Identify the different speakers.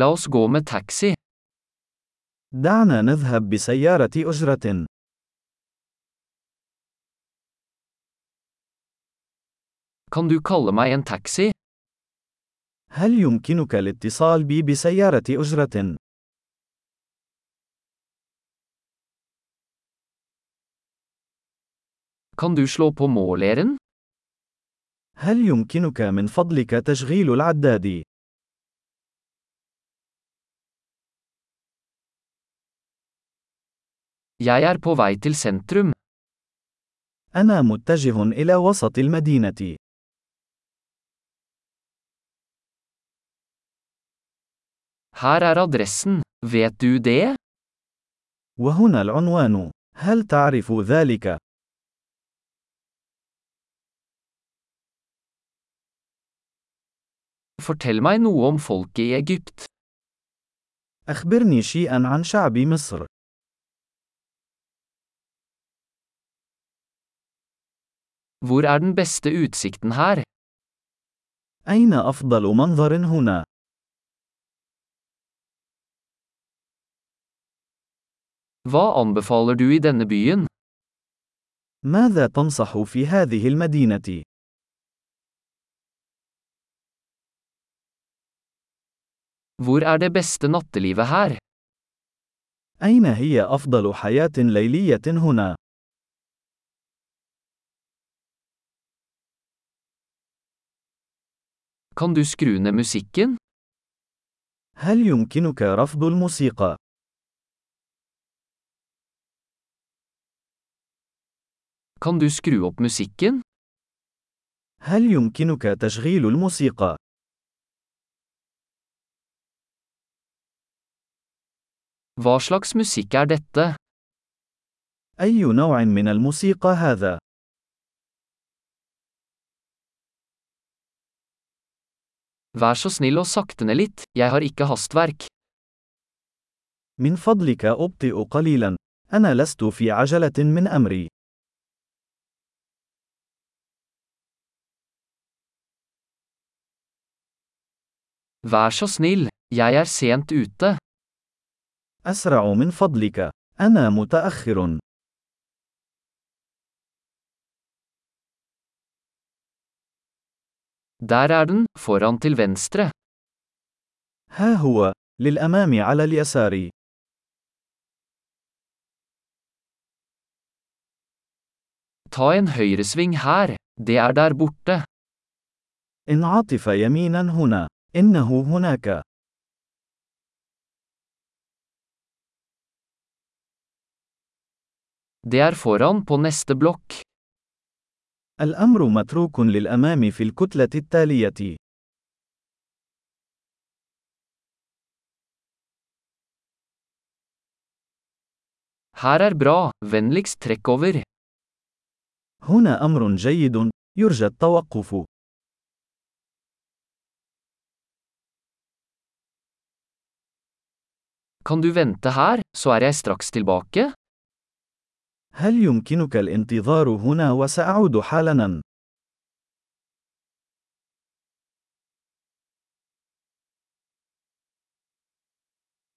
Speaker 1: La oss gå med taxi.
Speaker 2: دعنا نذهب بسيارة أجرة.
Speaker 1: Kan du kalle meg en taxi?
Speaker 2: هل يمكنك الاتصال بي بسيارة أجرة؟
Speaker 1: Kan du slå på måleren?
Speaker 2: هل يمكنك من فضلك تشغيل العداد؟
Speaker 1: Jeg er på vei til sentrum.
Speaker 2: أنا متجه إلى وسط المدينة.
Speaker 1: Her er adressen. Vet du det?
Speaker 2: وهنا العنوان. هل تعرف ذلك؟
Speaker 1: Fortell meg noe om folket i Egypt.
Speaker 2: أخبرني شيئًا عن شعب مصر.
Speaker 1: Hvor er den beste utsikten her?
Speaker 2: أين أفضل منظر هنا؟
Speaker 1: Hva anbefaler du i denne byen?
Speaker 2: ماذا تنصح في هذه المدينة؟
Speaker 1: Hvor er det beste nattelivet her?
Speaker 2: أين هي أفضل حياة ليلية هنا؟
Speaker 1: Kan du skru ned musikken?
Speaker 2: هل يمكنك رفض الموسيقى؟
Speaker 1: Kan du skru opp musikken?
Speaker 2: هل يمكنك تشغيل الموسيقى؟
Speaker 1: Hva slags musikk er dette?
Speaker 2: أي نوع من الموسيقى هذا؟
Speaker 1: Vær så snill og sakte ned litt, jeg har ikke hastverk.
Speaker 2: من فضلك أبطئ قليلا. أنا لست في عجلة من أمري.
Speaker 1: Vær så snill, jeg er sent ute.
Speaker 2: أسرع من فضلك. أنا متأخر.
Speaker 1: Der er den, foran til venstre.
Speaker 2: ها هو. للأمام على اليسار.
Speaker 1: Ta en høyresving her. Det er der borte.
Speaker 2: انعطف يمينا هنا. إنه هناك.
Speaker 1: Det er foran på neste blokk.
Speaker 2: الأمر متروك للأمام في الكتلة التالية.
Speaker 1: Her er bra, vennligst trekk over.
Speaker 2: هنا أمر جيد. يرجى التوقف.
Speaker 1: Kan du vente her, så er jeg straks tilbake?
Speaker 2: هل يمكنك الانتظار هنا وسأعود حالاً؟